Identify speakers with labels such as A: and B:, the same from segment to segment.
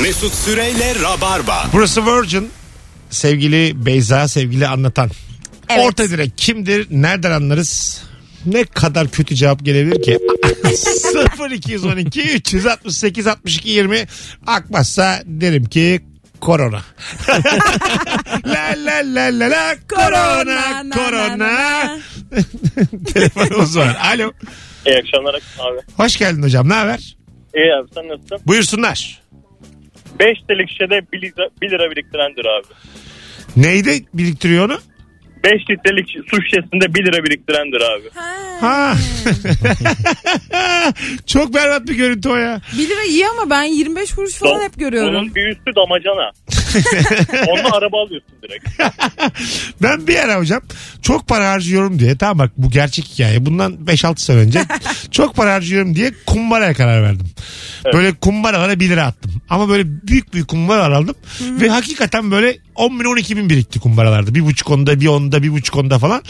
A: Mesut Süreyle Rabarba.
B: Burası Virgin. Sevgili Beyza, sevgili anlatan.
C: Evet.
B: Orta direk kimdir? Nereden anlarız? Ne kadar kötü cevap gelebilir ki? 0212 368 62 20 akmazsa derim ki korona. la la la la la korona
C: Korona, na, na,
B: korona.
C: na.
B: Telefonumuz var. Alo.
D: İyi akşamlar abi.
B: Hoş geldin hocam. Ne haber?
D: İyi abi sen nasılsın?
B: Buyursunlar.
D: 5 TL'lik şişede 1 lira, bir lira biriktirendir abi.
B: Neydi biriktiriyor onu?
D: 5 litrelik şi- su şişesinde 1 lira biriktirendir abi.
B: Ha. Çok berbat bir görüntü o ya.
C: 1 lira iyi ama ben 25 kuruş falan hep görüyorum.
D: Onun bir üstü damacana. Onunla araba alıyorsun direkt.
B: Ben bir ara hocam çok para harcıyorum diye tamam bak bu gerçek hikaye bundan 5-6 sene önce çok para harcıyorum diye kumbaraya karar verdim. Böyle kumbaralara 1 lira attım ama böyle büyük büyük kumbaralar aldım ve hakikaten böyle 10 bin 12 bin birikti kumbaralarda bir buçuk onda bir onda bir buçuk onda falan.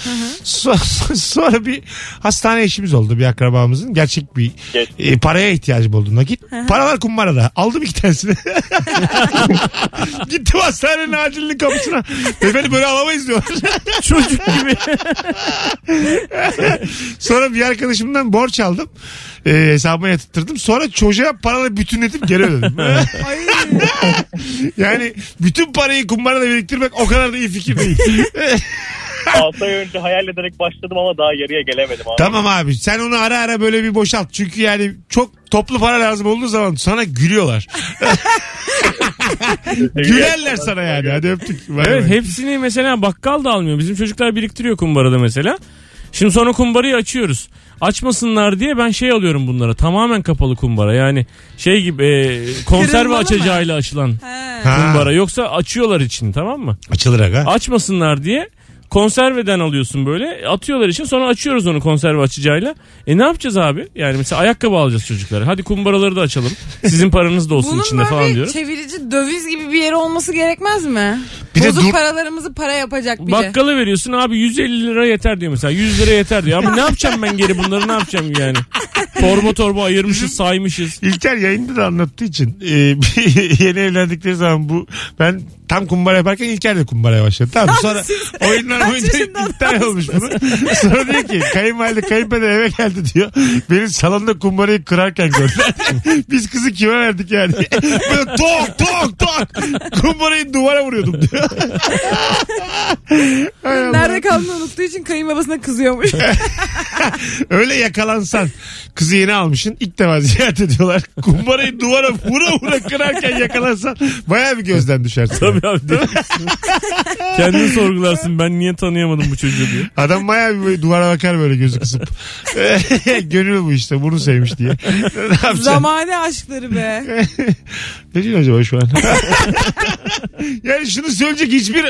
B: So- so- Sonra bir hastane işimiz oldu bir akrabamızın gerçek bir
D: Geç.
B: e, paraya ihtiyacı buldum nakit. Paralar kumbarada aldım iki tanesini. Gittim hastanenin acilinin kapısına. Beyefendi böyle alamayız diyor.
E: Çocuk gibi.
B: Sonra bir arkadaşımdan borç aldım. E, hesabıma yatırttırdım. Sonra çocuğa paraları bütünletip geri ödedim. yani bütün parayı kumbarada biriktirmek o kadar da iyi fikir değil.
D: 6 ay önce hayal ederek başladım ama daha yarıya gelemedim abi.
B: tamam abi sen onu ara ara böyle bir boşalt. Çünkü yani çok toplu para lazım olduğu zaman sana gülüyorlar. Gülerler sana yani. Hadi öptük. Bay
E: Evet
B: bay.
E: hepsini mesela bakkal da almıyor. Bizim çocuklar biriktiriyor kumbarada mesela. Şimdi sonra kumbarayı açıyoruz. Açmasınlar diye ben şey alıyorum bunlara. Tamamen kapalı kumbara. Yani şey gibi e,
C: Kırılmalı
E: konserve
C: mı?
E: açacağıyla açılan
C: He.
B: Ha,
E: kumbara. Yoksa açıyorlar için tamam mı?
B: Açılır aga.
E: Açmasınlar diye konserveden alıyorsun böyle. Atıyorlar için sonra açıyoruz onu konserve açacağıyla. E ne yapacağız abi? Yani mesela ayakkabı alacağız çocuklara. Hadi kumbaraları da açalım. Sizin paranız da olsun
C: Bunun
E: içinde
C: böyle
E: falan diyoruz.
C: çevirici döviz gibi bir yeri olması gerekmez mi?
B: Bir de
C: Bozuk
B: dur-
C: paralarımızı para yapacak biri.
E: Bakkala veriyorsun abi 150 lira yeter diyor mesela 100 lira yeter diyor. Abi ne yapacağım ben geri bunları ne yapacağım yani. Torba torba ayırmışız saymışız.
B: İlker yayında da anlattığı için e, yeni evlendikleri zaman bu ben tam kumbara yaparken İlker de kumbaraya başladı. Tamam sonra oyunlar oyunda
C: yaşında
B: iptal olmuş bunu. Sonra diyor ki kayınvalide kayınpeder eve geldi diyor. Benim salonda kumbarayı kırarken gördüler. Biz kızı kime verdik yani? Böyle tok tok tok kumbarayı duvara vuruyordum diyor. Hay Allah.
C: Nerede kaldığını unuttuğu için kayınbabasına kızıyormuş.
B: Öyle yakalansan kızı yeni almışsın ilk defa ziyaret ediyorlar. Kumbarayı duvara vura vura kırarken yakalansan baya bir gözden düşersin.
E: Tabii abi değil mi? Kendini sorgularsın ben niye tanıyamadım bu çocuğu diye.
B: Adam baya bir böyle duvara bakar böyle gözü kısıp. Gönül bu işte bunu sevmiş diye. Ne yapacaksın?
C: Zamane aşkları be.
B: ne diyorsun acaba şu an? yani şunu söyleyecek hiçbir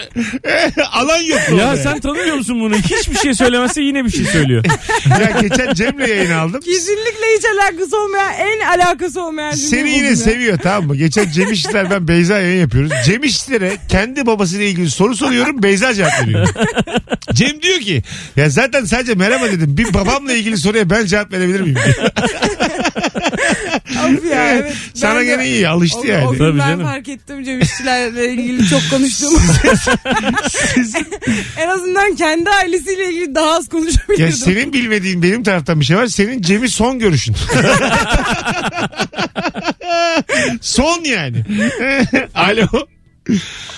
B: alan yok.
E: Ya
B: orada.
E: sen tanımıyor musun bunu? Hiçbir şey söylemezse yine bir şey söylüyor.
B: ya geçen Cem'le yayın aldım.
C: Kesinlikle hiç alakası olmayan, en alakası olmayan cümle
B: Seni
C: bu
B: yine
C: cümle.
B: seviyor tamam mı? Geçen Cem İşçiler ben Beyza yayın yapıyoruz. Cem İşçilere kendi babasıyla ilgili soru soruyorum Beyza cevap veriyor. Cem diyor ki ya zaten sadece merhaba dedim. Bir babamla ilgili soruya ben cevap verebilir miyim? diyor.
C: Of ya, evet.
B: Sana
C: Ben de-
B: gene iyi
C: O-
B: alıştı yani.
C: O, gün
E: Tabii
C: ben
E: canım.
C: fark ettim Cem İşçilerle ilgili çok konuştum. en azından kendi ailesiyle ilgili daha az
B: Ya
C: konuşabiliyordum.
B: senin bilmediğin benim taraftan bir şey var. Senin Cem'i son görüşün. son yani. Alo.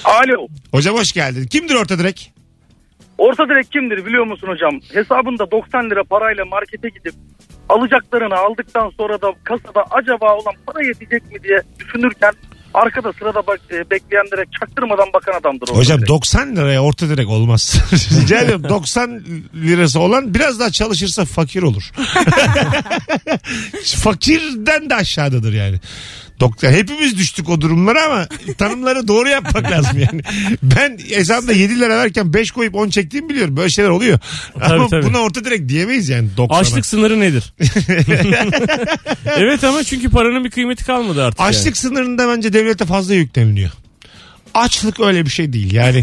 F: Alo.
B: Hocam hoş geldin. Kimdir orta direk?
F: Orta direk kimdir biliyor musun hocam? Hesabında 90 lira parayla markete gidip alacaklarını aldıktan sonra da kasada acaba olan para yetecek mi diye düşünürken arkada sırada bak, e, bekleyenlere çaktırmadan bakan adamdır. orta
B: Hocam
F: direk.
B: 90 liraya orta direk olmaz. Rica ediyorum 90 lirası olan biraz daha çalışırsa fakir olur. Fakirden de aşağıdadır yani. Doktor, hepimiz düştük o durumlara ama tanımları doğru yapmak lazım yani. Ben hesabımda 7 lira verken 5 koyup 10 çektiğimi biliyorum. Böyle şeyler oluyor. ama
E: tabii.
B: buna orta direkt diyemeyiz yani 90'a.
E: Açlık sınırı nedir? evet ama çünkü paranın bir kıymeti kalmadı artık. yani.
B: Açlık sınırında bence devlete fazla yükleniliyor. Açlık öyle bir şey değil. Yani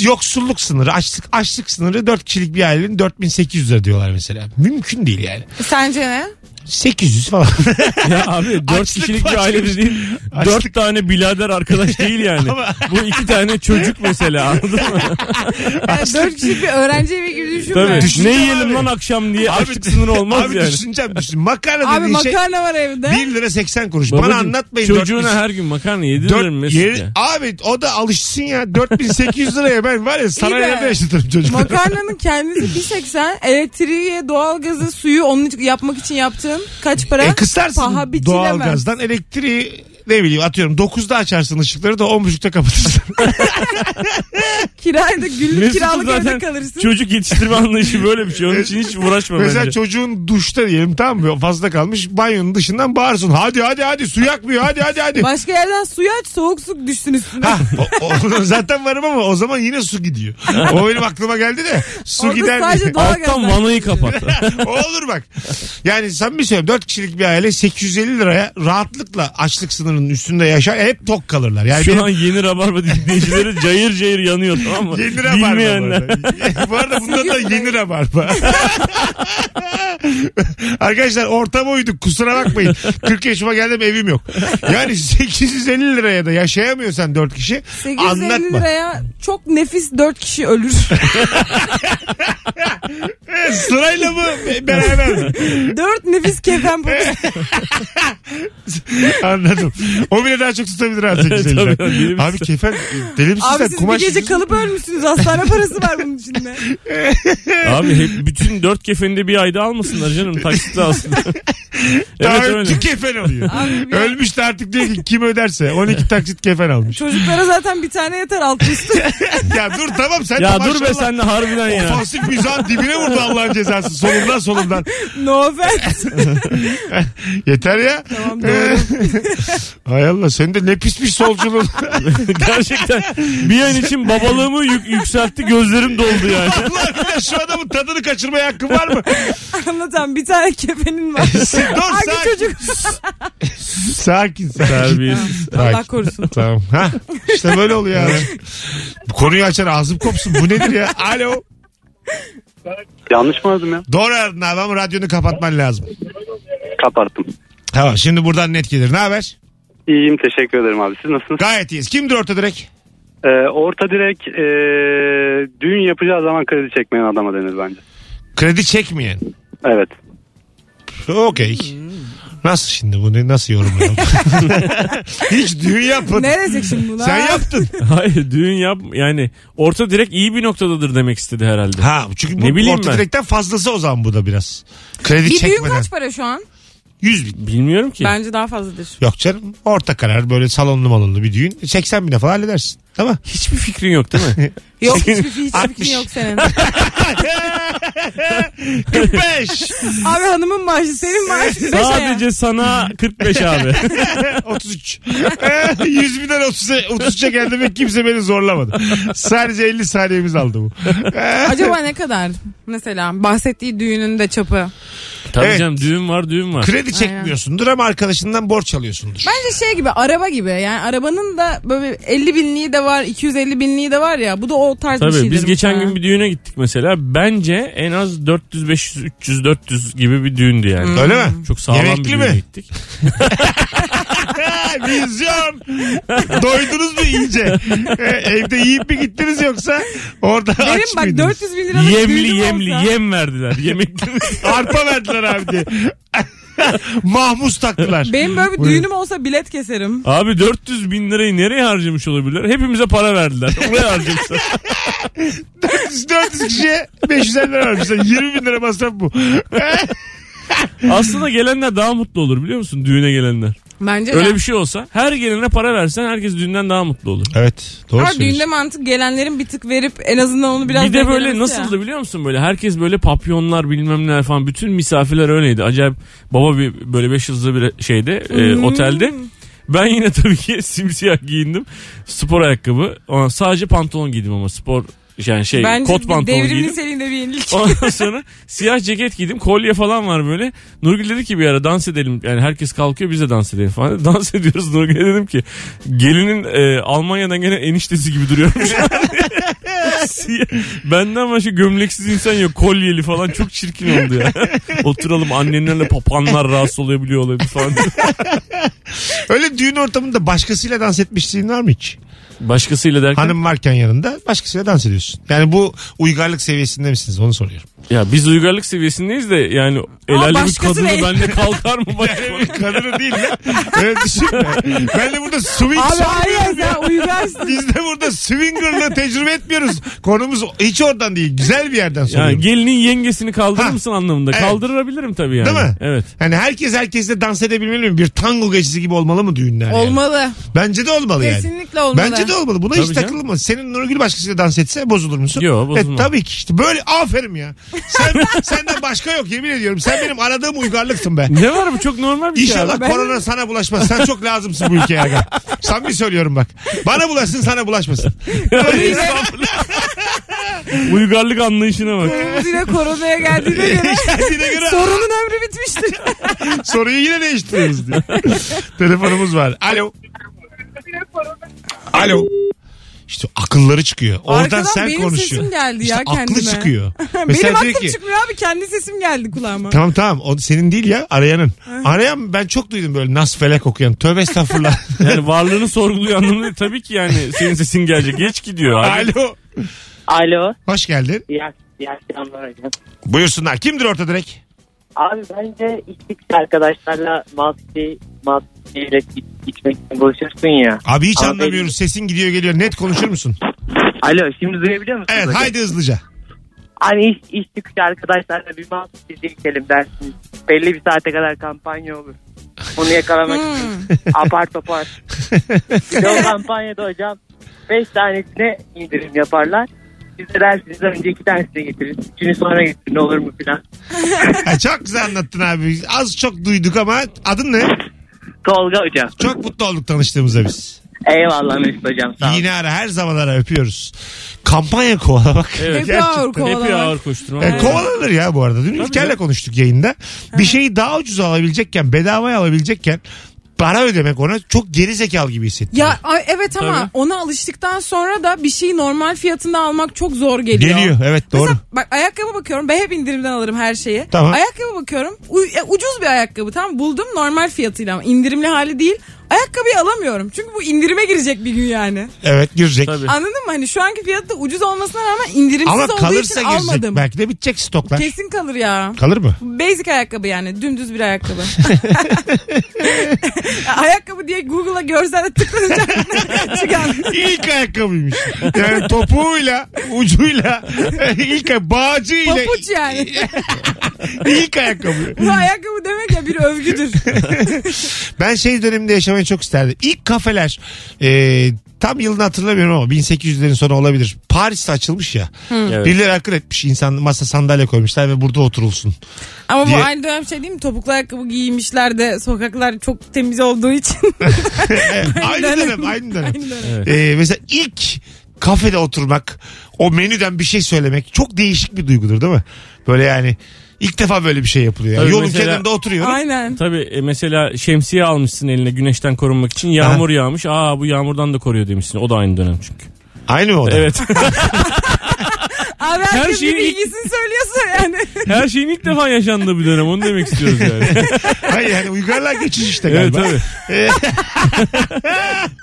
B: yoksulluk sınırı, açlık açlık sınırı 4 kişilik bir ailenin 4800 lira diyorlar mesela. Mümkün değil yani.
C: Sence ne?
B: 800 falan.
E: Ya abi dört
B: Açlık
E: kişilik bir
B: başlamış.
E: aile de değil.
B: Açlık.
E: Dört tane birader arkadaş değil yani.
B: Ama-
E: Bu iki tane çocuk mesela anladın mı?
C: Yani dört kişilik bir öğrenci evi gibi düşünme.
E: Tabii.
B: Düşünce
E: ne yiyelim
B: abi.
E: lan akşam diye açlık
B: Abi-
E: sınırı olmaz
B: Abi
E: yani.
B: düşüneceğim düşün. Makarna
C: Abi
B: dediğin
C: makarna var evde.
B: şey 1 lira 80 kuruş. Bana
E: Babacım,
B: anlatmayın.
E: Çocuğuna
B: 4000
E: her gün makarna yedirilir
B: Dört,
E: Mesut
B: yeri-
E: ya.
B: abi o da alışsın ya. 4800 liraya ben var ya saraylarda
C: be.
B: yaşatırım çocukları.
C: Makarnanın kendisi 1.80. Elektriği, doğalgazı, suyu onun için- yapmak için yaptığın kaç para?
B: E kısarsın
C: Paha biçilemez.
B: doğalgazdan elektriği ne bileyim atıyorum 9'da açarsın ışıkları da 10.30'da kapatırsın.
C: Kirayı da günlük
E: Mesut'un
C: kiralık evde
E: zaten
C: kalırsın.
E: Çocuk yetiştirme anlayışı böyle bir şey. Onun için hiç uğraşma
B: Mesela
E: bence.
B: çocuğun duşta diyelim tamam mı fazla kalmış banyonun dışından bağırsın. Hadi hadi hadi su yakmıyor hadi hadi hadi.
C: Başka yerden suyu aç soğuk su düşsün üstüne.
B: Ha, o- o- zaten varım ama o zaman yine su gidiyor. O benim aklıma geldi de su
C: Orada
B: gider
C: sadece
B: diye.
C: doğal
E: Alttan vanayı kapat.
B: o olur bak. Yani sen bir söyleyeyim 4 kişilik bir aile 850 liraya rahatlıkla açlık sınırının üstünde yaşar. Hep tok kalırlar. Yani benim-
E: Şu an yeni Rabarba dinleyicileri cayır cayır yanıyor tamam mı?
B: Yeni rabarba
E: Bilmeyenler.
B: bu arada. bu arada bunda da yeni rabarba. Arkadaşlar ortam oydu kusura bakmayın. 40 yaşıma geldim evim yok. Yani 850 liraya da yaşayamıyorsan 4 kişi
C: 850
B: anlatma.
C: liraya çok nefis 4 kişi ölür.
B: E, sırayla mı Be- beraber mi?
C: 4 nefis
B: E,
C: kefen pabuç.
B: Anladım. O bile daha çok tutabilir ha 850
E: Tabii, deli misin?
B: Abi kefen deli misin
C: Abi
B: sen?
C: siz
B: Kumaş
C: bir gece kalıp ölmüşsünüz. Hastane parası var bunun içinde.
E: Abi hep bütün dört kefeni de bir ayda almasınlar canım taksitle aslında.
B: daha
E: evet öyle.
B: öncü kefen alıyor.
C: Abi bir-
B: Ölmüş de artık diyor ki kim öderse 12 taksit kefen almış.
C: Çocuklara zaten bir tane yeter alt üstü.
B: ya dur tamam sen de
E: Ya dur
B: maşallah-
E: be sen de harbiden ya.
B: Ofansif mizahın dibine vurdu Allah'ın cezası. Solundan solundan.
C: no offense.
B: Yeter ya.
C: Tamam, doğru.
B: Hay Allah senin de ne pismiş solculuğun.
E: Gerçekten bir an için babalığımı yük- yükseltti gözlerim doldu yani.
B: Allah bilir şu adamın tadını kaçırmaya hakkın var mı?
C: Anlatan bir tane kefenin var.
B: Sen- Dur
C: Hangi
B: sakin.
C: çocuk?
B: Sakin sakin.
E: Terbiyesiz.
C: Allah
B: Sakin.
C: korusun.
B: Tamam. Ha, işte böyle oluyor abi. Bu Konuyu açan ağzım kopsun. Bu nedir ya? Alo.
G: Yanlış mı aradım ya?
B: Doğru aradın abi ama radyonu kapatman lazım.
G: Kapattım.
B: Tamam şimdi buradan net gelir. Ne haber?
G: İyiyim teşekkür ederim abi. Siz nasılsınız?
B: Gayet iyiyiz. Kimdir orta direk?
F: E,
G: Ee, orta direk e, düğün yapacağı zaman kredi çekmeyen adama denir bence.
B: Kredi çekmeyen.
G: Evet.
B: Okey.
C: Hmm.
B: Nasıl şimdi bunu nasıl yorumlayalım? Hiç düğün yapmadın.
C: Ne diyecek şimdi buna?
B: Sen yaptın.
E: Hayır düğün yap yani orta direkt iyi bir noktadadır demek istedi herhalde.
B: Ha çünkü bu
E: Ne bileyim
B: orta
E: ben.
B: direkten fazlası o zaman bu da biraz. Kredi
C: Bir düğün
B: çekmeden.
C: kaç para şu an?
B: 100 bin.
E: Bilmiyorum ki.
C: Bence daha fazladır.
B: Yok canım orta karar böyle salonlu malonlu bir düğün 80 bine falan halledersin. Tamam.
E: Hiçbir fikrin yok değil mi?
C: Yok hiçbir, hiçbir
B: Altmış.
C: fikrin
E: şey-
C: yok senin.
B: 45
C: Abi hanımın maaşı senin maaşın 5 aya.
E: Sadece sana 45 abi.
B: 33 100 binden 30 33'e geldim ve kimse beni zorlamadı. Sadece 50 saniyemiz aldı bu.
C: Acaba ne kadar? Mesela bahsettiği düğünün de çapı.
E: Tabii
B: Evet.
E: canım düğün var düğün var.
B: Kredi çekmiyorsundur ama arkadaşından borç alıyorsundur.
C: Bence şey gibi araba gibi yani arabanın da böyle 50 binliği de var 250 binliği de var ya bu da o tarz bir
E: Tabii
C: şeydir.
E: biz geçen
C: muhtemelen.
E: gün bir düğüne gittik mesela. Bence en az 400 500 300 400 gibi bir düğündü yani.
B: Öyle mi?
E: Çok sağlam
B: Yemekli
E: bir düğüne
B: mi?
E: gittik.
B: Ha, Vizyon. Doydunuz mu iyice? E, evde yiyip mi gittiniz yoksa orada aç
C: Benim bak
B: mıydınız?
C: 400 bin liralık
E: Yemli
C: düğünüm
E: yemli
C: olsa.
E: yem verdiler. Yemekli mi?
B: Arpa verdiler abi diye. Mahmus taktılar.
C: Benim böyle bir
B: Buyurun.
C: düğünüm olsa bilet keserim.
E: Abi 400 bin lirayı nereye harcamış olabilirler? Hepimize para verdiler. Oraya harcamışlar.
B: 400, 400 kişiye 500 lira vermişler. 20 bin lira masraf bu.
E: Aslında gelenler daha mutlu olur biliyor musun? Düğüne gelenler.
C: Bence de.
E: Öyle bir şey olsa her gelene para versen herkes düğünden daha mutlu olur.
B: Evet doğru
C: Ama düğünde mantık gelenlerin bir tık verip en azından onu biraz
E: şey bir de böyle
C: dengelemesi ya.
E: nasıldı biliyor musun böyle herkes böyle papyonlar bilmem neler falan bütün misafirler öyleydi. Acayip baba bir böyle beş yıldızlı bir şeyde e,
C: Hmm.
E: otelde. Ben yine tabii ki simsiyah giyindim. Spor ayakkabı. Aa, Sadece pantolon giydim ama spor yani şey
C: Bence
E: kot pantolon
C: devrim
E: giydim.
C: niteliğinde bir yenilik.
E: Ondan sonra siyah ceket giydim. Kolye falan var böyle. Nurgül dedi ki bir ara dans edelim. Yani herkes kalkıyor biz de dans edelim falan. dedi. Dans ediyoruz Nurgül dedim ki gelinin e, Almanya'dan gelen eniştesi gibi duruyormuş. Siyah- Benden başka gömleksiz insan yok. Kolyeli falan çok çirkin oldu ya. Oturalım annenlerle papanlar rahatsız olabiliyor olabilir falan.
B: Öyle düğün ortamında başkasıyla dans etmişliğin var mı hiç?
E: Başkasıyla derken
B: Hanım varken yanında başkasıyla dans ediyorsun. Yani bu uygarlık seviyesinde misiniz onu soruyorum.
E: ya biz uygarlık seviyesindeyiz de yani el
C: Ama
E: alemi
C: başkası
E: kadını
C: ne?
E: bende kalkar mı? Bak-
B: Kadını değil de öyle düşünme. Ben de burada swing
C: Abi
B: song-
C: hayır ya uygarsın.
B: Biz de burada swinger'la tecrübe etmiyoruz. Konumuz hiç oradan değil. Güzel bir yerden soruyorum.
E: Yani gelinin yengesini kaldırır
B: Ha.
E: mısın anlamında.
B: Evet.
E: Kaldırabilirim tabii yani.
B: Değil mi?
E: Evet.
B: Hani herkes herkesle dans edebilmeli mi? Bir tango gecesi gibi olmalı mı düğünler? yani?
C: Olmalı.
B: Bence de olmalı yani.
C: Kesinlikle olmalı.
B: Bence de olmalı. Buna
E: Tabii
B: hiç
E: canım.
B: takılmaz. Senin Nurgül başkasıyla dans etse bozulur musun?
E: Yo, bozulmam.
B: E, tabii ki işte böyle aferin ya. Sen senden başka yok yemin ediyorum. Sen benim aradığım uygarlıksın be.
E: Ne var bu çok normal bir şey.
B: İnşallah
E: abi.
B: korona sana bulaşmaz. Sen çok lazımsın bu ülkeye. Aga. Samimi söylüyorum bak. Bana bulaşsın sana bulaşmasın.
E: Uygarlık anlayışına bak.
C: Yine koronaya geldiğine göre
B: Kendine göre
C: sorunun ömrü bitmiştir.
B: soruyu yine değiştiriyoruz diye. Telefonumuz var. Alo. Alo. İşte akılları çıkıyor. Oradan
C: Arkadan
B: sen
C: benim
B: konuşuyorsun.
C: sesim geldi
B: İşte
C: ya kendime.
B: aklı çıkıyor.
C: Benim
B: Mesela
C: aklım
B: diyor ki-
C: çıkmıyor abi kendi sesim geldi kulağıma.
B: Tamam tamam o senin değil ya arayanın. Arayan ben çok duydum böyle nas felek okuyan. Tövbe estağfurullah.
E: Yani varlığını sorguluyor anlamında değil. tabii ki yani senin sesin gelecek. Geç gidiyor abi.
B: Alo.
H: Alo.
B: Hoş geldin.
H: İyi, ak- iyi akşamlar hocam.
B: Buyursunlar. Kimdir orta direk?
H: Abi bence içtikçe arkadaşlarla maske, maskeyle iç- içmek için buluşursun ya.
B: Abi hiç
H: Abi
B: anlamıyorum.
H: benim-
B: Sesin gidiyor geliyor. Net konuşur musun?
H: Alo şimdi duyabiliyor musunuz?
B: Evet
H: hocam?
B: haydi hızlıca.
H: Hani iş, içtikçe arkadaşlarla bir maske içelim dersiniz. Belli bir saate kadar kampanya olur. Onu yakalamak için apar topar. Bir de o kampanyada hocam 5 tanesine indirim yaparlar. Siz de dersiniz önce iki tanesini getirin. Üçünü sonra getirin olur mu filan.
B: Ha, çok güzel anlattın abi. Az çok duyduk ama adın ne?
H: Tolga hocam.
B: Çok mutlu olduk tanıştığımıza biz.
H: Eyvallah Mesut hocam sağ olun.
B: Yine ara her zaman ara öpüyoruz. Kampanya kovalamak.
E: Evet.
C: Hep ağır
E: Hep
C: kovalamak.
E: ağır koşturma.
B: E, kovalanır ya bu arada. Dün İlker'le
E: canım.
B: konuştuk yayında. Bir şeyi daha ucuz alabilecekken, bedavaya alabilecekken para ödemek ona çok geri zekalı gibi hissettiriyor.
C: Ya ay, evet ama
E: Tabii.
C: ona alıştıktan sonra da bir şeyi normal fiyatında almak çok zor geliyor.
B: Geliyor evet doğru.
C: Mesela bak ayakkabı bakıyorum. Ben hep indirimden alırım her şeyi.
B: Tamam.
C: Ayakkabı bakıyorum. u- e, ucuz bir ayakkabı tamam buldum normal fiyatıyla ama indirimli hali değil. Ayakkabıyı alamıyorum. Çünkü bu indirime girecek bir gün yani.
B: Evet girecek.
E: Tabii.
C: Anladın mı? Hani şu anki fiyatta ucuz olmasına rağmen indirimsiz
B: Ama
C: olduğu
B: kalırsa
C: için
B: girecek.
C: almadım.
B: Belki de bitecek stoklar.
C: Kesin kalır ya.
B: Kalır mı?
C: Basic ayakkabı yani dümdüz bir ayakkabı. ayakkabı diye Google'a görselde tıklanacak çıkan.
B: İlk ayakkabıymış. Yani topuğuyla, ucuyla, ilk ay- bağcıyla
C: Papuç yani.
B: ilk ayakkabı.
C: Bu ayakkabı demek ya bir övgüdür.
B: Ben şey döneminde yaşamayı çok isterdim. İlk kafeler e, tam yılını hatırlamıyorum ama 1800'lerin sonu olabilir. Paris'te açılmış ya.
E: Evet.
B: Birileri akıl etmiş. insan masa sandalye koymuşlar ve burada oturulsun.
C: Ama bu
B: Diye-
C: aynı dönem şey değil mi? Topuklu ayakkabı giymişler de sokaklar çok temiz olduğu için.
B: aynı dönem, aynı dönem.
C: Aynı dönem.
B: E, mesela ilk kafede oturmak, o menüden bir şey söylemek çok değişik bir duygudur değil mi? Böyle yani ilk defa böyle bir şey yapılıyor.
E: Tabii
B: Yolun
E: mesela-
B: kenarında oturuyorum.
C: Aynen.
E: Tabii e, mesela şemsiye almışsın eline güneşten korunmak için. Yağmur yağmış. Aa bu yağmurdan da koruyor demişsin. O da aynı dönem çünkü.
B: Aynı mı o da?
E: Evet.
C: Abi herkes
E: şeyi-
C: bir bilgisini söylüyorsun yani.
E: Her şeyin ilk defa yaşandığı bir dönem. Onu demek istiyoruz yani.
B: Hayır yani uygarlığa geçiş işte
E: evet
B: galiba.
E: tabii.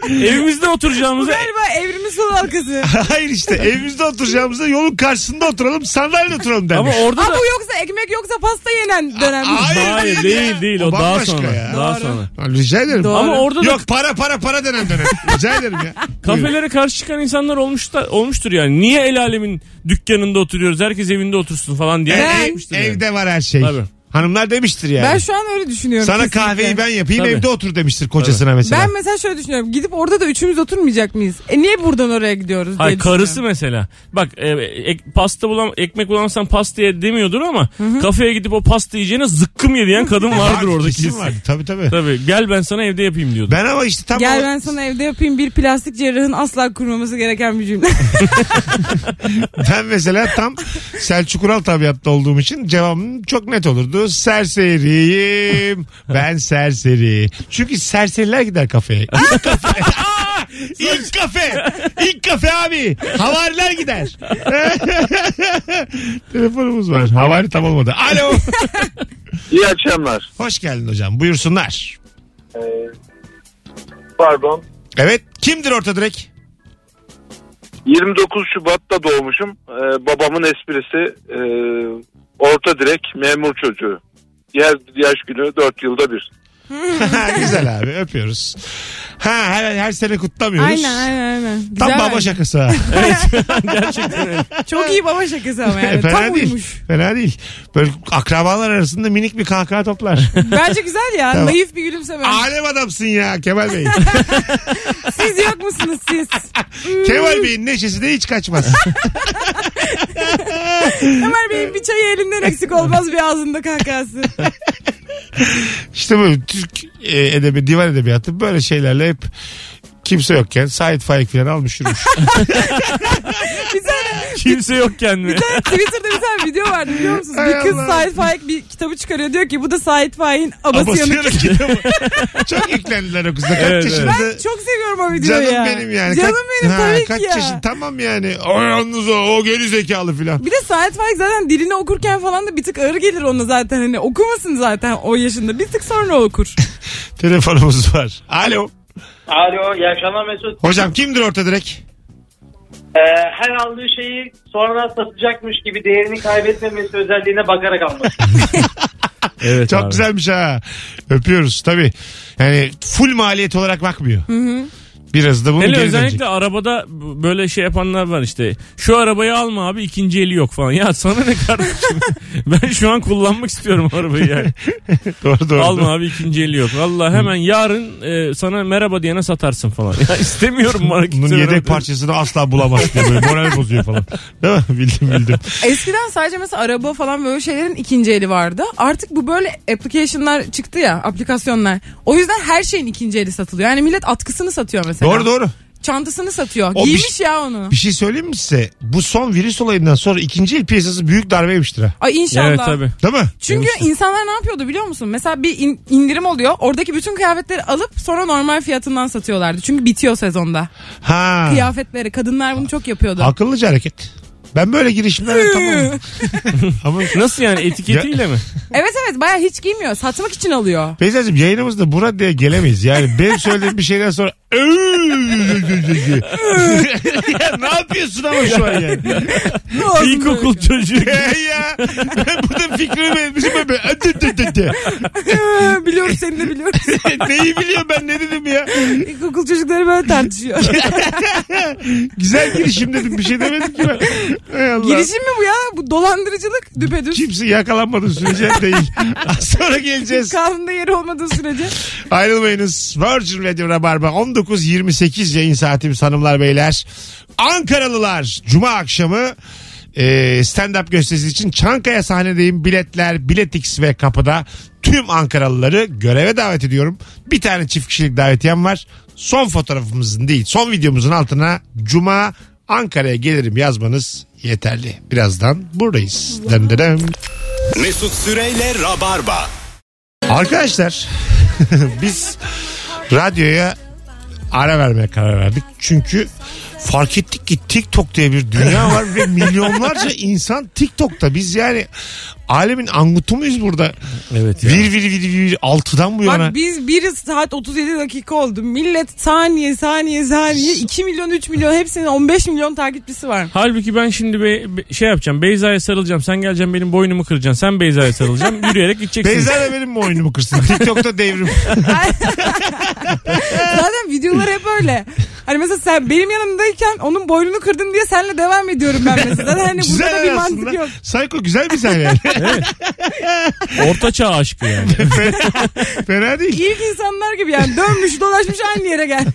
E: Evimizde oturacağımıza
C: Galiba evrimin sol halkası.
B: Hayır işte evimizde oturacağımızda yolun karşısında oturalım sandalyede oturalım
E: ama
B: demiş.
E: orada
C: Ha
E: da
C: bu yoksa ekmek yoksa pasta yenen dönem.
E: Hayır değil değil o, daha
B: bambaşka
E: sonra.
B: ya.
E: Daha sonra.
B: Ha, Rica ederim.
C: Doğru.
E: Ama orada da
B: Yok para para para denen dönem. Rica ederim ya. Buyurun.
E: kafelere karşı çıkan insanlar olmuş da, olmuştur yani. Niye el alemin dükkanında oturuyoruz? Herkes evinde otursun falan diye.
B: Ev-
E: Yani
B: ev-
E: yapmıştır yani.
B: evde var her şey.
E: Tabii.
B: Hanımlar demiştir yani.
C: Ben şu an öyle düşünüyorum.
B: Sana
C: kesinlikle.
B: kahveyi ben yapayım
E: Tabii.
B: evde otur demiştir kocasına mesela.
C: Ben mesela şöyle düşünüyorum. Gidip orada da üçümüz oturmayacak mıyız? E niye buradan oraya gidiyoruz diye
E: Hayır karısı
C: düşünüyorum.
E: mesela. Bak e, ek- pasta bulam ekmek bulamazsan pastaya demiyordur ama kafeye gidip o pasta yiyeceğine zıkkım ye diyen kadın vardır orada
B: kesin
E: kesin.
B: var. Tabii tabii.
E: Tabii gel ben sana evde yapayım diyordu.
B: Ben ama işte tam
C: Gel
B: o-
C: ben sana evde yapayım bir plastik cerrahın asla kurmaması gereken bir cümle.
B: Ben mesela tam Selçuk Ural tabiatta olduğum için cevabım çok net olurdu. Serseriyim. Ben serseri. Çünkü serseriler gider kafeye. İlk kafe. İlk kafe. İlk kafe abi. Havariler gider. Telefonumuz var. Havari tam olmadı. Alo.
I: İyi akşamlar.
B: Hoş geldin hocam. Buyursunlar.
I: Pardon.
B: Evet. Kimdir orta direk?
I: 29 Şubat'ta doğmuşum. Ee, babamın esprisi e, orta direk memur çocuğu. Yer, yaş günü 4 yılda bir.
B: Güzel abi. Öpüyoruz. Ha her, her sene kutlamıyoruz.
C: aynen aynen aynen. Güzel
B: Tam baba
C: bence.
B: şakası. ha.
C: Çok iyi baba şakası ama yani.
B: E, fena
C: Tam
B: değil.
C: uymuş.
B: Fena değil. Böyle akrabalar arasında minik bir kahkaha toplar.
C: Bence güzel ya.
B: Tamam.
C: Naif bir gülümseme.
B: Alem adamsın ya Kemal Bey.
C: Siz yok musunuz siz?
B: Kemal Bey'in neşesi de hiç kaçmaz.
C: Ömer Bey'in bir çayı elinden eksik olmaz bir ağzında kahkahası.
B: işte böyle Türk e, edebi, divan edebiyatı böyle şeylerle hep kimse yokken Sait Faik falan almış yürümüş.
C: Bir tane
E: Kimse yokken mi?
C: Bir tane Twitter'da bir tane video vardı biliyor musunuz?
B: Hay
C: bir kız
B: Allah.
C: Sait Faik bir kitabı çıkarıyor. Diyor ki bu da Sait Faik'in abası yanık.
B: Abasıyarak kitabı. Çok yüklendiler o kıza. Kaç
E: Evet,
B: yaşında?
C: Ben çok seviyorum o videoyu
B: Canım
C: ya.
B: benim yani.
C: Canım
B: Kaç-
C: benim
B: Ha,
C: tabii
B: Kaç
C: ki ya.
B: yaşın? Tamam yani. O yalnız o, o geri zekalı filan.
C: Bir de Sait Faik zaten dilini okurken falan da bir tık ağır gelir ona zaten. Hani okumasın zaten o yaşında. Bir tık sonra okur.
B: Telefonumuz var. Alo.
J: Alo iyi akşamlar Mesut.
B: Hocam kimdir orta direk?
J: Ee, her aldığı şeyi sonra satacakmış gibi değerini kaybetmemesi özelliğine bakarak alması.
E: Evet
B: Çok
E: abi.
B: güzelmiş ha. Öpüyoruz tabii. Yani full maliyet olarak bakmıyor. Biraz da bunu
E: Hele
B: geri
E: özellikle
B: dönecek.
E: arabada b- böyle şey yapanlar var işte. Şu arabayı alma abi ikinci eli yok falan. Ya sana ne kardeşim? ben şu an kullanmak istiyorum arabayı yani.
B: Doğru doğru.
E: alma abi ikinci eli yok. Valla hemen yarın e, sana merhaba diyene satarsın falan. Ya istemiyorum bana
B: Bunun
E: kimse
B: yedek
E: merhaba
B: parçasını asla bulamaz diye böyle moral bozuyor falan. Değil mi? Bildim bildim.
C: Eskiden sadece mesela araba falan böyle şeylerin ikinci eli vardı. Artık bu böyle application'lar çıktı ya, aplikasyonlar. O yüzden her şeyin ikinci eli satılıyor. Yani millet atkısını satıyor mesela.
B: doğru doğru.
C: Çantasını satıyor.
B: O bir-
C: Giymiş ya onu.
B: Bir şey söyleyeyim mi size? Bu son virüs olayından sonra ikinci el piyasası büyük darbeymiştir ha.
C: Ay
E: diyor.
C: inşallah.
E: Evet tabii.
B: Değil mi?
C: Çünkü insanlar ne yapıyordu biliyor musun? Mesela bir in- indirim oluyor. Oradaki bütün kıyafetleri alıp sonra normal fiyatından satıyorlardı. Çünkü bitiyor sezonda.
B: Ha.
C: Kıyafetleri kadınlar bunu çok yapıyordu.
B: Akıllıca hareket. Ben böyle girişimlere tamam. Ama
E: Nasıl yani etiketiyle mi?
C: evet evet baya hiç giymiyor. Satmak için alıyor.
B: Beyza'cığım yayınımızda bu raddeye gelemeyiz. Yani benim söylediğim bir şeyden sonra ya ne yapıyorsun ama şu an yani?
E: İlkokul çocuğu.
B: ya ben burada fikrimi vermişim ama ben- Dı dı dı dı.
C: biliyorum seni de biliyorum.
B: Neyi biliyorum ben ne dedim ya?
C: İlkokul çocukları böyle tartışıyor.
B: Güzel girişim dedim bir şey demedim ki ben. Hay Allah.
C: Girişim mi bu ya? Bu dolandırıcılık düpedüz.
B: Kimse yakalanmadığı sürece değil. Az sonra geleceğiz.
C: Kanunda yeri olmadığı sürece.
B: Ayrılmayınız. Virgin Radio Rabarba 19.28 yayın saatimiz hanımlar beyler. Ankaralılar Cuma akşamı e, stand-up gösterisi için Çankaya sahnedeyim. Biletler, Biletix ve kapıda tüm Ankaralıları göreve davet ediyorum. Bir tane çift kişilik davetiyem var. Son fotoğrafımızın değil, son videomuzun altına Cuma Ankara'ya gelirim yazmanız yeterli. Birazdan buradayız. Dem dem dem.
A: Mesut Süreyle Rabarba.
B: Arkadaşlar biz radyoya ara vermeye karar verdik. Çünkü fark ettik ki TikTok diye bir dünya var ve milyonlarca insan TikTok'ta. Biz yani alemin angutu muyuz burada?
E: Evet ya.
B: Vir vir vir vir altıdan bu yana.
C: Bak biz 1 saat 37 dakika oldu. Millet saniye saniye saniye 2 milyon 3 milyon hepsinin 15 milyon takipçisi var.
E: Halbuki ben şimdi be- be- şey yapacağım. Beyza'ya sarılacağım. Sen geleceksin benim boynumu kıracaksın. Sen Beyza'ya sarılacaksın. Yürüyerek gideceksin.
B: Beyza da benim mi oyunumu kırsın? TikTok'ta devrim.
C: Zaten videolar hep öyle. Hani mesela sen benim yanımdayken onun boynunu kırdın diye seninle devam ediyorum ben mesela. Hani burada da bir
B: güzel
C: mantık
B: aslında.
C: yok.
B: Psycho güzel bir sahne.
E: Orta çağ aşkı yani.
B: Fena değil.
C: İlk insanlar gibi yani dönmüş dolaşmış aynı yere gelmiş.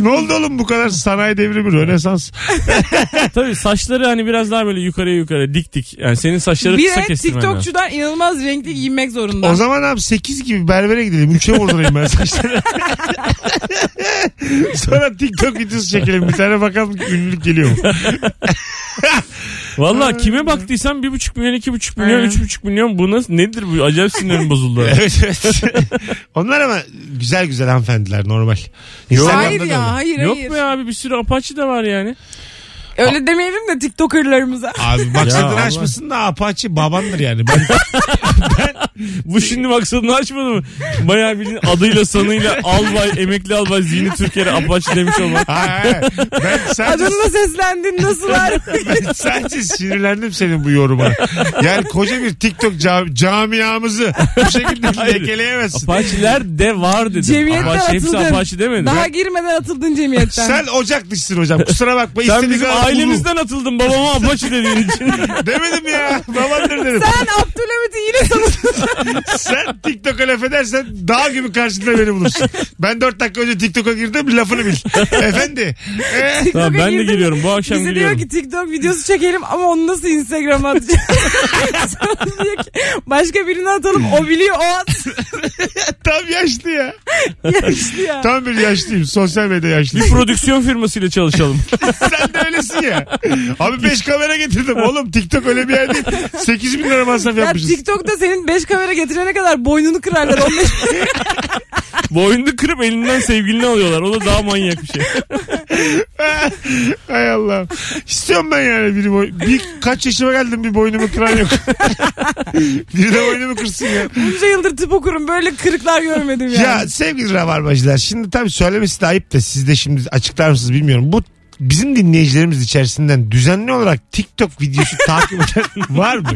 B: ne oldu oğlum bu kadar sanayi devrimi Rönesans.
E: Tabii saçları hani biraz daha böyle yukarıya yukarı dik dik. Yani senin saçları
C: bir
E: kısa
C: evet
E: kestirmen lazım.
C: TikTokçudan inanılmaz renkli giyinmek zorunda.
B: O zaman abi 8 gibi berbere gidelim. 3'e vurdurayım ben saçları. Sonra TikTok videosu çekelim. Bir tane bakalım ünlülük geliyor mu?
E: Valla kime baktıysan 1,5 milyon, 2,5 milyon,
C: Aynen.
E: 3,5 milyon bu nasıl, nedir bu? Acayip sinirim bozuldu.
B: evet evet. Onlar ama güzel güzel hanımefendiler normal.
C: hayır
B: Instagram'da da
C: ya
B: öyle.
C: hayır
E: Yok
C: hayır.
E: be abi bir sürü apaçı da var yani.
C: Öyle demeyelim de TikTokerlarımıza.
B: Abi
E: Ya
B: maksadını
E: Allah.
B: açmasın da apaçı babandır yani. Ben
E: Bu şimdi maksadını açmadı mı? Bayağı bildiğin adıyla sanıyla albay, emekli albay Zihni Türker'e apaçı demiş olmak.
B: Hayır, hayır. Ben sadece,
C: Adınla seslendin nasıllar?
B: ben sadece sinirlendim senin bu yoruma. Yani koca bir TikTok cam- camiamızı bu şekilde
E: Hayır.
B: lekeleyemezsin.
E: Apaçiler de var dedim.
C: Cemiyetten
E: Apaçi, hepsi
C: atıldın.
E: apaçi demedi.
C: Daha girmeden atıldın cemiyetten.
B: Sen ocak dışısın hocam. Kusura bakma.
E: Sen
B: istediğin
E: bizim
B: kadar
E: ailemizden atıldın babama apaçi dediğin için.
B: bulu. Demedim ya. Babandır dedim.
C: Sen Abdülhamit'i yine tanıdın.
B: Sen TikTok'a laf edersen dağ gibi karşında beni bulursun. Ben 4 dakika önce TikTok'a girdim lafını bil. Efendi. Ee,
E: Tamam,
C: TikTok'a
E: ben de
C: girdin.
E: giriyorum bu akşam
C: Bize
E: giriyorum.
C: diyor ki TikTok videosu çekelim ama onu nasıl Instagram'a atacağız? Sonra diyor ki, başka birine atalım o biliyor o at.
B: tam yaşlı ya.
C: Yaşlı ya.
B: Tam bir yaşlıyım. Sosyal medya yaşlıyım.
E: Bir prodüksiyon firmasıyla çalışalım.
B: Sen de öylesin ya. Abi 5 kamera getirdim. Oğlum TikTok öyle bir yer değil. 8 bin lira masraf
C: Ya
B: yapmışız.
C: TikTok'ta senin 5 kamera getirene kadar boynunu kırarlar. Onun için
E: Boynunu kırıp elinden sevgilini alıyorlar. O da daha manyak bir şey.
B: Hay Allah. İstiyorum ben yani biri boy... Bir, kaç yaşıma geldim bir boynumu kıran yok. biri de boynumu kırsın ya.
C: bunca yıldır tıp okurum böyle kırıklar görmedim yani.
B: Ya sevgili rabarbacılar şimdi tabii söylemesi de ayıp da siz de şimdi açıklar mısınız bilmiyorum. Bu bizim dinleyicilerimiz içerisinden düzenli olarak TikTok videosu takip eden var mı?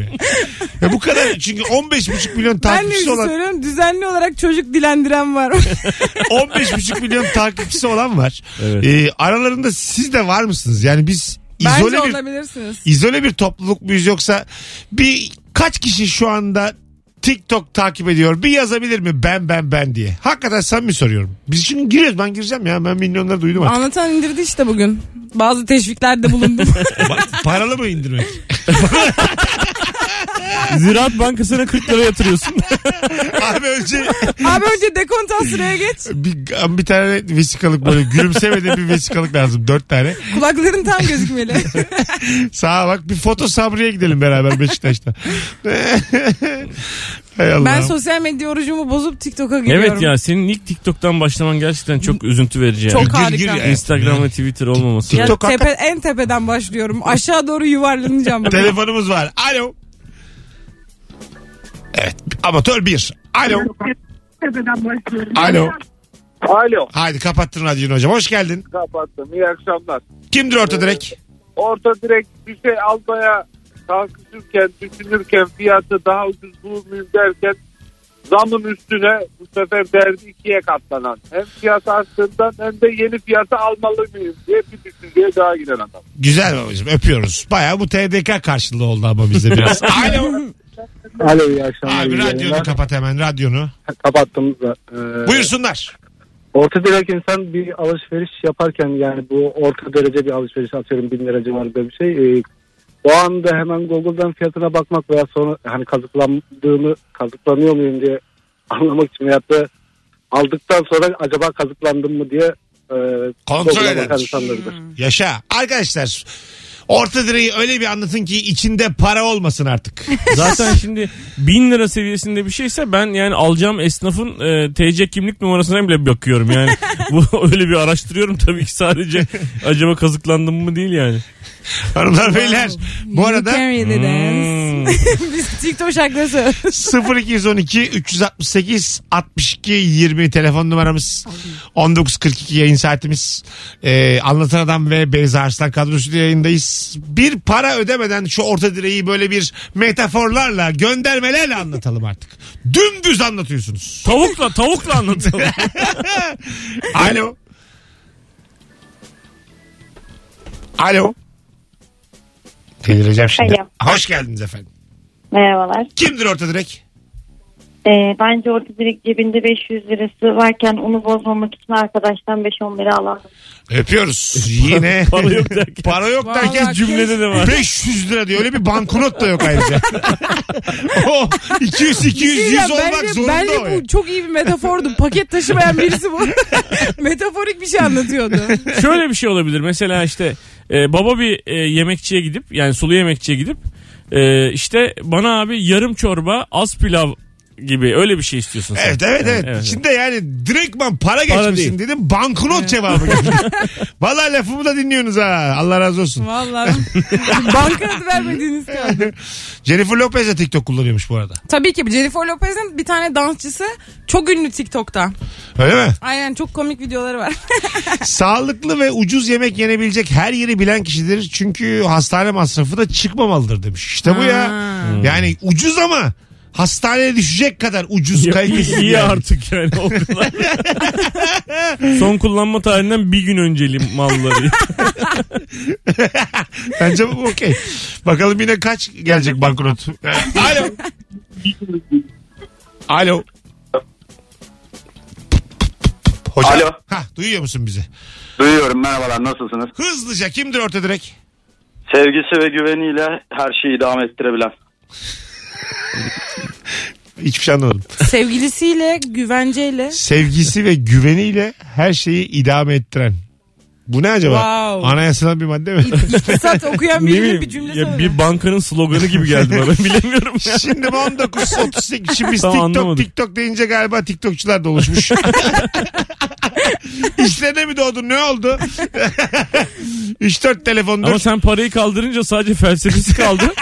B: Ya bu kadar çünkü 15,5 milyon
C: ben de bir şey
B: takipçisi olan
C: söylüyorum düzenli olarak çocuk dilendiren var.
B: 15,5 milyon takipçisi olan var.
E: Evet.
B: Ee, aralarında siz de var mısınız? Yani biz
C: Bence
B: izole bir
C: olabilirsiniz.
B: izole bir topluluk muyuz yoksa bir kaç kişi şu anda TikTok takip ediyor. Bir yazabilir mi ben ben ben diye. Hakikaten samimi soruyorum. Biz şimdi giriyoruz ben gireceğim ya. Ben milyonları duydum artık.
C: Anlatan indirdi işte bugün. Bazı teşviklerde bulundum.
B: Bak, Paralı mı indirmek?
E: Ziraat Bankası'na 40 lira yatırıyorsun.
B: Abi önce
C: Abi önce dekontan sıraya geç.
B: bir, bir tane vesikalık böyle gülümsemeden bir vesikalık lazım. Dört tane.
C: Kulakların tam gözükmeli.
B: Sağa bak bir foto sabriye gidelim beraber Beşiktaş'ta. Hay Allah'ım.
C: ben sosyal medya orucumu bozup TikTok'a giriyorum.
E: evet ya senin ilk TikTok'tan başlaman gerçekten çok üzüntü verici yani.
C: Çok
B: Gir,
C: harika.
B: gir ya.
E: Instagram ve Twitter olmaması.
C: Ya
B: TikTok- TikTok
C: tepe- en tepeden başlıyorum. Aşağı doğru yuvarlanacağım. bugün.
B: Telefonumuz var. Alo. Evet. Amatör bir. Alo. Alo.
I: Alo
B: Haydi kapattın radyonu hocam. Hoş geldin.
I: kapattım iyi akşamlar.
B: Kimdir orta direk?
I: Orta direkt bir şey almaya kalkışırken düşünürken fiyatı daha ucuz bulur muyum derken zamın üstüne bu sefer derdi ikiye katlanan. Hem fiyat arttığından hem de yeni fiyatı almalı mıyım diye bir düşünceye daha giren adam.
B: Güzel babacığım öpüyoruz. Baya bu TDK karşılığı oldu ama bizde biraz. Alo.
G: Alo iyi akşamlar.
B: Abi
G: iyi
B: radyonu
G: yayınlar.
B: kapat hemen radyonu.
G: Kapattım. da, e,
B: Buyursunlar.
G: Orta direk insan bir alışveriş yaparken yani bu orta derece bir alışveriş atıyorum bin lira civarında bir şey. E, o anda hemen Google'dan fiyatına bakmak veya sonra hani kazıklandığımı kazıklanıyor muyum diye anlamak için veyahut da aldıktan sonra acaba kazıklandım mı diye e,
B: Kontrol
G: Google'a
B: eder.
G: bakan insanlardır.
B: Yaşa. Arkadaşlar orta direği öyle bir anlatın ki içinde para olmasın artık.
E: Zaten şimdi bin lira seviyesinde bir şeyse ben yani alacağım esnafın e, TC kimlik numarasına bile bakıyorum yani. Bu öyle bir araştırıyorum tabii ki sadece acaba kazıklandım mı değil yani.
B: Hanımlar beyler bu
C: You
B: arada
C: can really dance.
E: Hmm.
C: Biz TikTok şarkıları söylüyoruz.
B: 0212 368 62 20 telefon numaramız 19.42 yayın saatimiz ee, Anlatan Adam ve Beyza Arslan kadrosu yayındayız bir para ödemeden şu orta direği böyle bir metaforlarla göndermelerle anlatalım artık dümdüz anlatıyorsunuz
E: Tavukla tavukla anlatalım.
B: alo Alo. Delireceğim şimdi.
K: Alo.
B: Hoş geldiniz efendim.
K: Merhabalar.
B: Kimdir orta direk?
K: Ee, bence orta direkt cebinde 500 lirası varken onu bozmamak için arkadaştan 5-10 lira alalım.
B: Öpüyoruz. Yine
E: Para yok derken.
B: para yok derken
C: Vallahi
E: Cümlede de var.
B: 500 lira diyor. Öyle bir banknot da yok ayrıca. o 200 200 100
C: şey Bence-
B: olmak zorunda
C: bence
B: o.
C: bu
B: yani.
C: çok iyi bir metafordu. Paket taşımayan birisi bu. Metaforik bir şey anlatıyordu.
E: Şöyle bir şey olabilir. Mesela işte e, baba bir e, yemekçiye gidip yani sulu yemekçiye gidip e, işte bana abi yarım çorba az pilav gibi öyle bir şey istiyorsun sen.
B: Evet evet evet.
E: Evet, evet.
B: Şimdi yani direktman para geçmişsin
E: değil.
B: dedim. Banknot cevabı geldi. Valla lafımı da dinliyorsunuz ha. Allah razı olsun.
C: Vallahi banka adı vermediğiniz kaldı.
B: Jennifer Lopez de TikTok kullanıyormuş bu arada.
C: Tabii ki Jennifer Lopez'in bir tane dansçısı çok ünlü TikTok'ta.
B: Öyle mi?
C: Aynen çok komik videoları var.
B: Sağlıklı ve ucuz yemek yenebilecek her yeri bilen kişidir. Çünkü hastane masrafı da çıkmamalıdır demiş. İşte bu ya.
C: Ha.
B: Yani ucuz ama hastaneye düşecek kadar ucuz kalitesiz.
E: iyi
B: yani.
E: artık yani o kadar. Son kullanma tarihinden bir gün önceli malları.
B: Bence bu okey. Bakalım yine kaç gelecek banknot. Alo. Alo. Hocam.
L: Alo.
B: Hah, duyuyor musun bizi?
L: Duyuyorum merhabalar nasılsınız?
B: Hızlıca kimdir orta direk?
L: Sevgisi ve güveniyle her şeyi idame ettirebilen.
B: Hiçbir şey anlamadım.
C: Sevgilisiyle, güvenceyle.
B: Sevgisi ve güveniyle her şeyi idame ettiren. Bu ne acaba?
C: Wow.
B: Anayasadan bir madde mi?
C: İktisat okuyan
E: ne
C: birinin
E: bileyim
C: bir cümlesi
E: ya
C: var.
E: bir bankanın sloganı gibi geldi bana bilemiyorum ya.
B: Şimdi bu 19.38 şimdi biz
E: Tamam,
B: TikTok
E: anlamadım.
B: TikTok deyince galiba TikTokçular da oluşmuş. İşlerine mi doğdu ne oldu? 3-4 telefondur.
E: Ama sen parayı kaldırınca sadece felsefesi kaldı.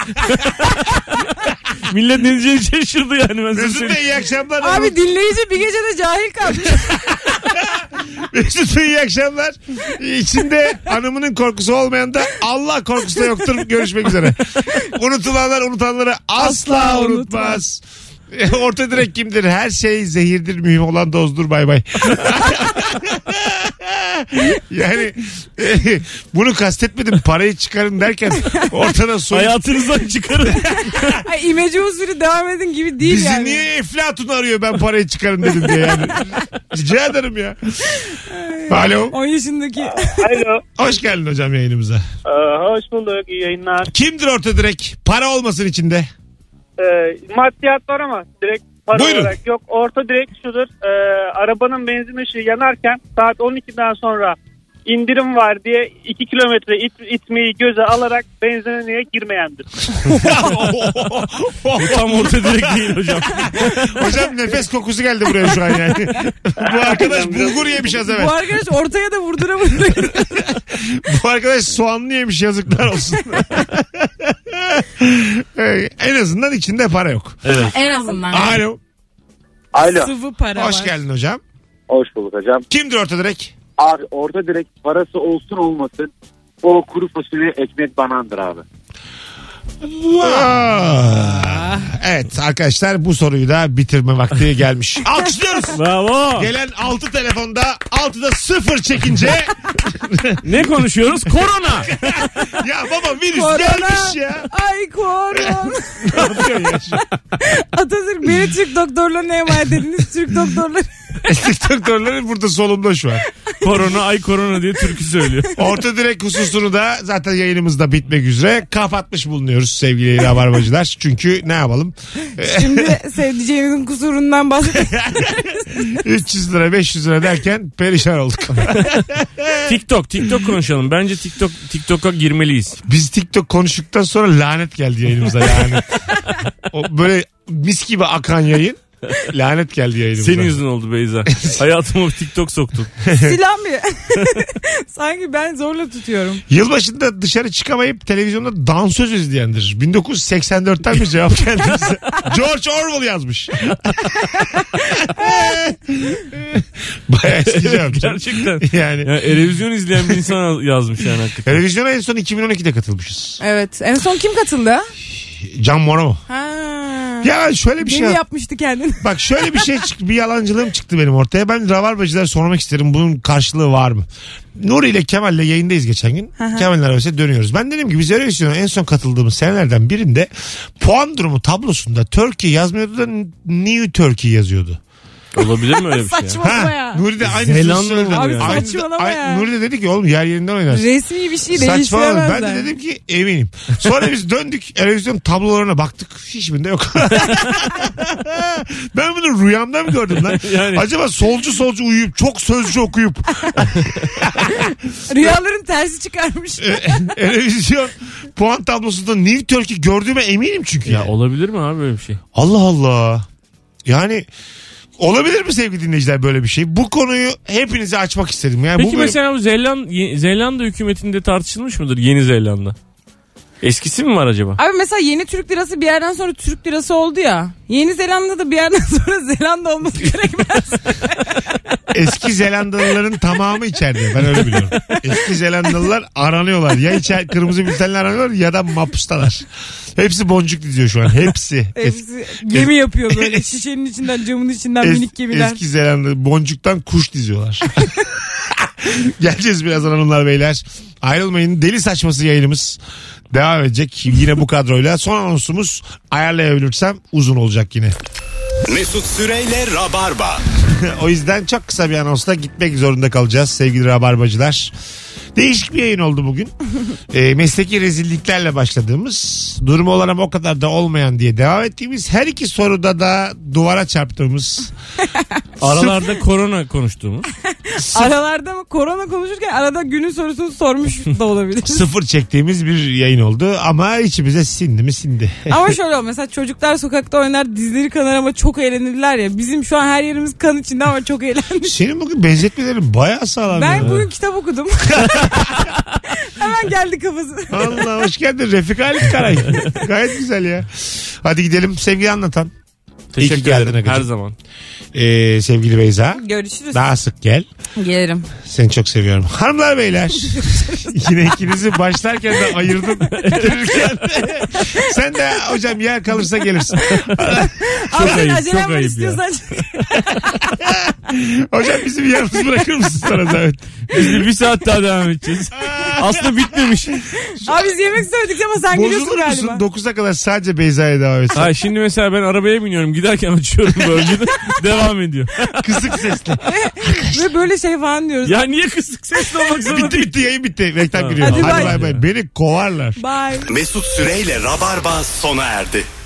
E: Millet ne diyeceğini şaşırdı yani ben size
B: Mesut Bey
E: söyleyeyim.
B: iyi akşamlar.
C: Abi dinleyici bir gecede cahil kalmış.
B: Mesut Bey iyi akşamlar. İçinde hanımının korkusu olmayan da Allah korkusu da yoktur. Görüşmek üzere. Unutulanlar unutanları asla,
C: Asla
B: unutmaz. Orta direk kimdir? Her şey zehirdir. Mühim olan dozdur. Bay bay. yani e, bunu kastetmedim. Parayı çıkarın derken ortada soyut.
E: Hayatınızdan çıkarın.
C: Ay, imece usulü devam edin gibi değil
B: Bizi
C: yani.
B: niye Eflatun arıyor ben parayı çıkarın dedim diye yani. Rica ederim ya. Alo.
C: 10 yaşındaki.
D: Alo.
B: Hoş geldin hocam yayınımıza.
D: Ee, hoş bulduk. İyi yayınlar.
B: Kimdir orta direk? Para olmasın içinde.
D: Ee, maddiyat var ama direkt para
B: Buyurun.
D: olarak yok. Orta direkt şudur. Ee, arabanın benzin ışığı yanarken saat 12'den sonra indirim var diye 2 kilometre it, itmeyi göze alarak benzinliğe girmeyendir.
E: Tam orta direkt değil hocam.
B: hocam nefes kokusu geldi buraya şu an yani. Bu arkadaş bulgur yemiş az evvel.
C: Bu arkadaş ortaya da vurduramadı.
B: Bu arkadaş soğanlı yemiş yazıklar olsun. Ee, en azından içinde para yok.
C: en azından.
B: Alo.
L: Alo.
C: Sıvı para
B: Hoş
C: var.
B: geldin hocam.
L: Hoş bulduk hocam.
B: Kimdir orta direk?
L: Abi orta direkt parası olsun olmasın o kuru fasulye ekmek banandır abi.
B: Aa. Evet arkadaşlar bu soruyu da bitirme vakti gelmiş. Alkışlıyoruz.
E: Bravo.
B: Gelen 6 telefonda 6'da 0 çekince
E: Ne konuşuyoruz? Korona.
B: ya baba virüs
C: Korona.
B: gelmiş ya.
C: Ay koron.
B: Ne yapıyor ya şimdi?
C: Atatürk beni Türk doktorlarına emanet ediniz. Türk doktorları.
B: Doktorları burada solumda şu an.
E: korona ay korona diye türkü söylüyor.
B: Orta direk hususunu da zaten yayınımızda bitmek üzere kapatmış bulunuyoruz sevgili rabarbacılar. Çünkü ne yapalım?
C: Şimdi sevdiceğimizin kusurundan bahsediyoruz.
B: 300 lira 500 lira derken perişan olduk.
E: TikTok, TikTok konuşalım. Bence TikTok TikTok'a girmeliyiz.
B: Biz TikTok konuştuktan sonra lanet geldi yayınımıza lanet. O böyle mis gibi akan yayın lanet geldi yayınımıza.
E: Senin yüzün oldu Beyza. Hayatıma bir TikTok soktun.
C: Silah mı? Sanki ben zorla tutuyorum.
B: Yılbaşında dışarı çıkamayıp televizyonda dansöz izleyendir. 1984'ten bir cevap geldi bize. George Orwell yazmış. Bayağı eski cevap.
E: Gerçekten.
B: Yani
E: Yani televizyon izleyen bir insan yazmış yani hakikaten.
B: televizyona en son 2012'de katılmışız.
C: Evet. En son kim katıldı?
B: Can Moro mu?
C: Ha.
B: Ya şöyle bir
C: Deli
B: şey.
C: yapmıştı kendini.
B: Bak şöyle bir şey çıktı. Bir yalancılığım çıktı benim ortaya. Ben rabarbacılara sormak isterim. Bunun karşılığı var mı? Nuri ile Kemal'le yayındayız geçen gün.
C: Hı hı.
B: Kemal'in arabasıyla dönüyoruz. Ben dedim ki biz Eurovision'a en son katıldığımız senelerden birinde puan durumu tablosunda Türkiye yazmıyordu da New Turkey yazıyordu.
E: Olabilir mi öyle bir şey? ya?
C: Saçmalama ya.
B: Nuri de aynı
E: Zelanda
B: sözü söyledi.
E: Abi
B: Aynı-
C: saçmalama
B: aynı-
C: ya.
B: Nuri de dedi ki oğlum yer yerinden oynarsın.
C: Resmi bir şey
B: Saçmalama.
C: değiştiremezler.
B: Ben de dedim ki eminim. Sonra biz döndük televizyon tablolarına baktık. Hiçbirinde yok. ben bunu rüyamda mı gördüm lan?
E: Yani.
B: Acaba solcu solcu uyuyup çok sözcü okuyup
C: Rüyaların tersi çıkarmış.
B: Ee, televizyon puan tablosunda New Turkey gördüğüme eminim çünkü.
E: Ya
B: yani.
E: olabilir mi abi böyle bir şey?
B: Allah Allah. Yani olabilir mi sevgili dinleyiciler böyle bir şey? Bu konuyu hepinize açmak istedim. Yani
E: Peki
B: bu bölüm-
E: mesela bu Zelanda, Zelanda hükümetinde tartışılmış mıdır Yeni Zelanda? Eskisi mi var acaba?
C: Abi mesela yeni Türk lirası bir yerden sonra Türk lirası oldu ya. Yeni Zelanda'da bir yerden sonra Zelanda olması gerekmez.
B: Eski Zelandalıların tamamı içeride. Ben öyle biliyorum. Eski Zelandalılar aranıyorlar. Ya içer, kırmızı bültenle aranıyorlar ya da mapustalar. Hepsi boncuk diziyor şu an. Hepsi. Es-
C: Hepsi gemi yapıyor böyle şişenin içinden camın içinden
B: es-
C: minik gemiler.
B: eski Zelanda boncuktan kuş diziyorlar. Geleceğiz birazdan hanımlar beyler. Ayrılmayın. Deli saçması yayınımız devam edecek. Yine bu kadroyla. Son anonsumuz ayarlayabilirsem uzun olacak yine.
A: Mesut Süreyle Rabarba.
B: o yüzden çok kısa bir anonsla gitmek zorunda kalacağız sevgili rabarbacılar. Değişik bir yayın oldu bugün. Ee, mesleki rezilliklerle başladığımız, durumu olan ama o kadar da olmayan diye devam ettiğimiz, her iki soruda da duvara çarptığımız,
E: Aralarda korona konuştuğumuz.
C: Aralarda mı korona konuşurken arada günün sorusunu sormuş da olabilir.
B: sıfır çektiğimiz bir yayın oldu ama içimize sindi mi sindi.
C: Ama şöyle ol, mesela çocuklar sokakta oynar dizleri kanar ama çok eğlenirler ya. Bizim şu an her yerimiz kan içinde ama çok eğlenmiş.
B: Senin bugün benzetmelerin bayağı sağlam.
C: Ben
B: ya.
C: bugün kitap okudum. Hemen geldi kafası.
B: Allah hoş geldin Refik Halit Karay. Gayet güzel ya. Hadi gidelim sevgili anlatan. İyi ki
E: Teşekkür
B: geldin
E: ederim her
B: Akıncı.
E: zaman.
B: Ee, sevgili Beyza.
C: Görüşürüz.
B: Daha sık gel.
C: Gelirim.
B: Seni çok seviyorum. Hanımlar beyler. Yine ikinizi başlarken de ayırdım. Bitirirken de. Sen de hocam yer kalırsa gelirsin.
C: Ama senin
E: ayıp,
C: acelen
E: çok
C: var
E: ayıp ya.
C: istiyorsan.
B: Hocam bizi bir yalnız bırakır mısın sana zahmet?
E: Biz bir, bir saat daha devam edeceğiz. Aslında bitmemiş.
C: Abi biz yemek söyledik ama sen gülüyorsun
B: Bozulur musun?
C: galiba.
B: 9'a kadar sadece Beyza'ya devam etsin.
E: Ha şimdi mesela ben arabaya biniyorum giderken açıyorum bölgede devam ediyor.
B: Kısık sesle.
C: Ve böyle şey falan diyoruz.
E: Ya niye kısık sesle olmak zorunda
B: bitti
E: değil?
B: bitti yayın bitti. Reklam
E: Tamam.
B: giriyor. Hadi,
C: Hadi
B: bay
C: bay.
B: bay. Beni kovarlar.
C: Bye.
A: Mesut Süreyle Rabarba sona erdi.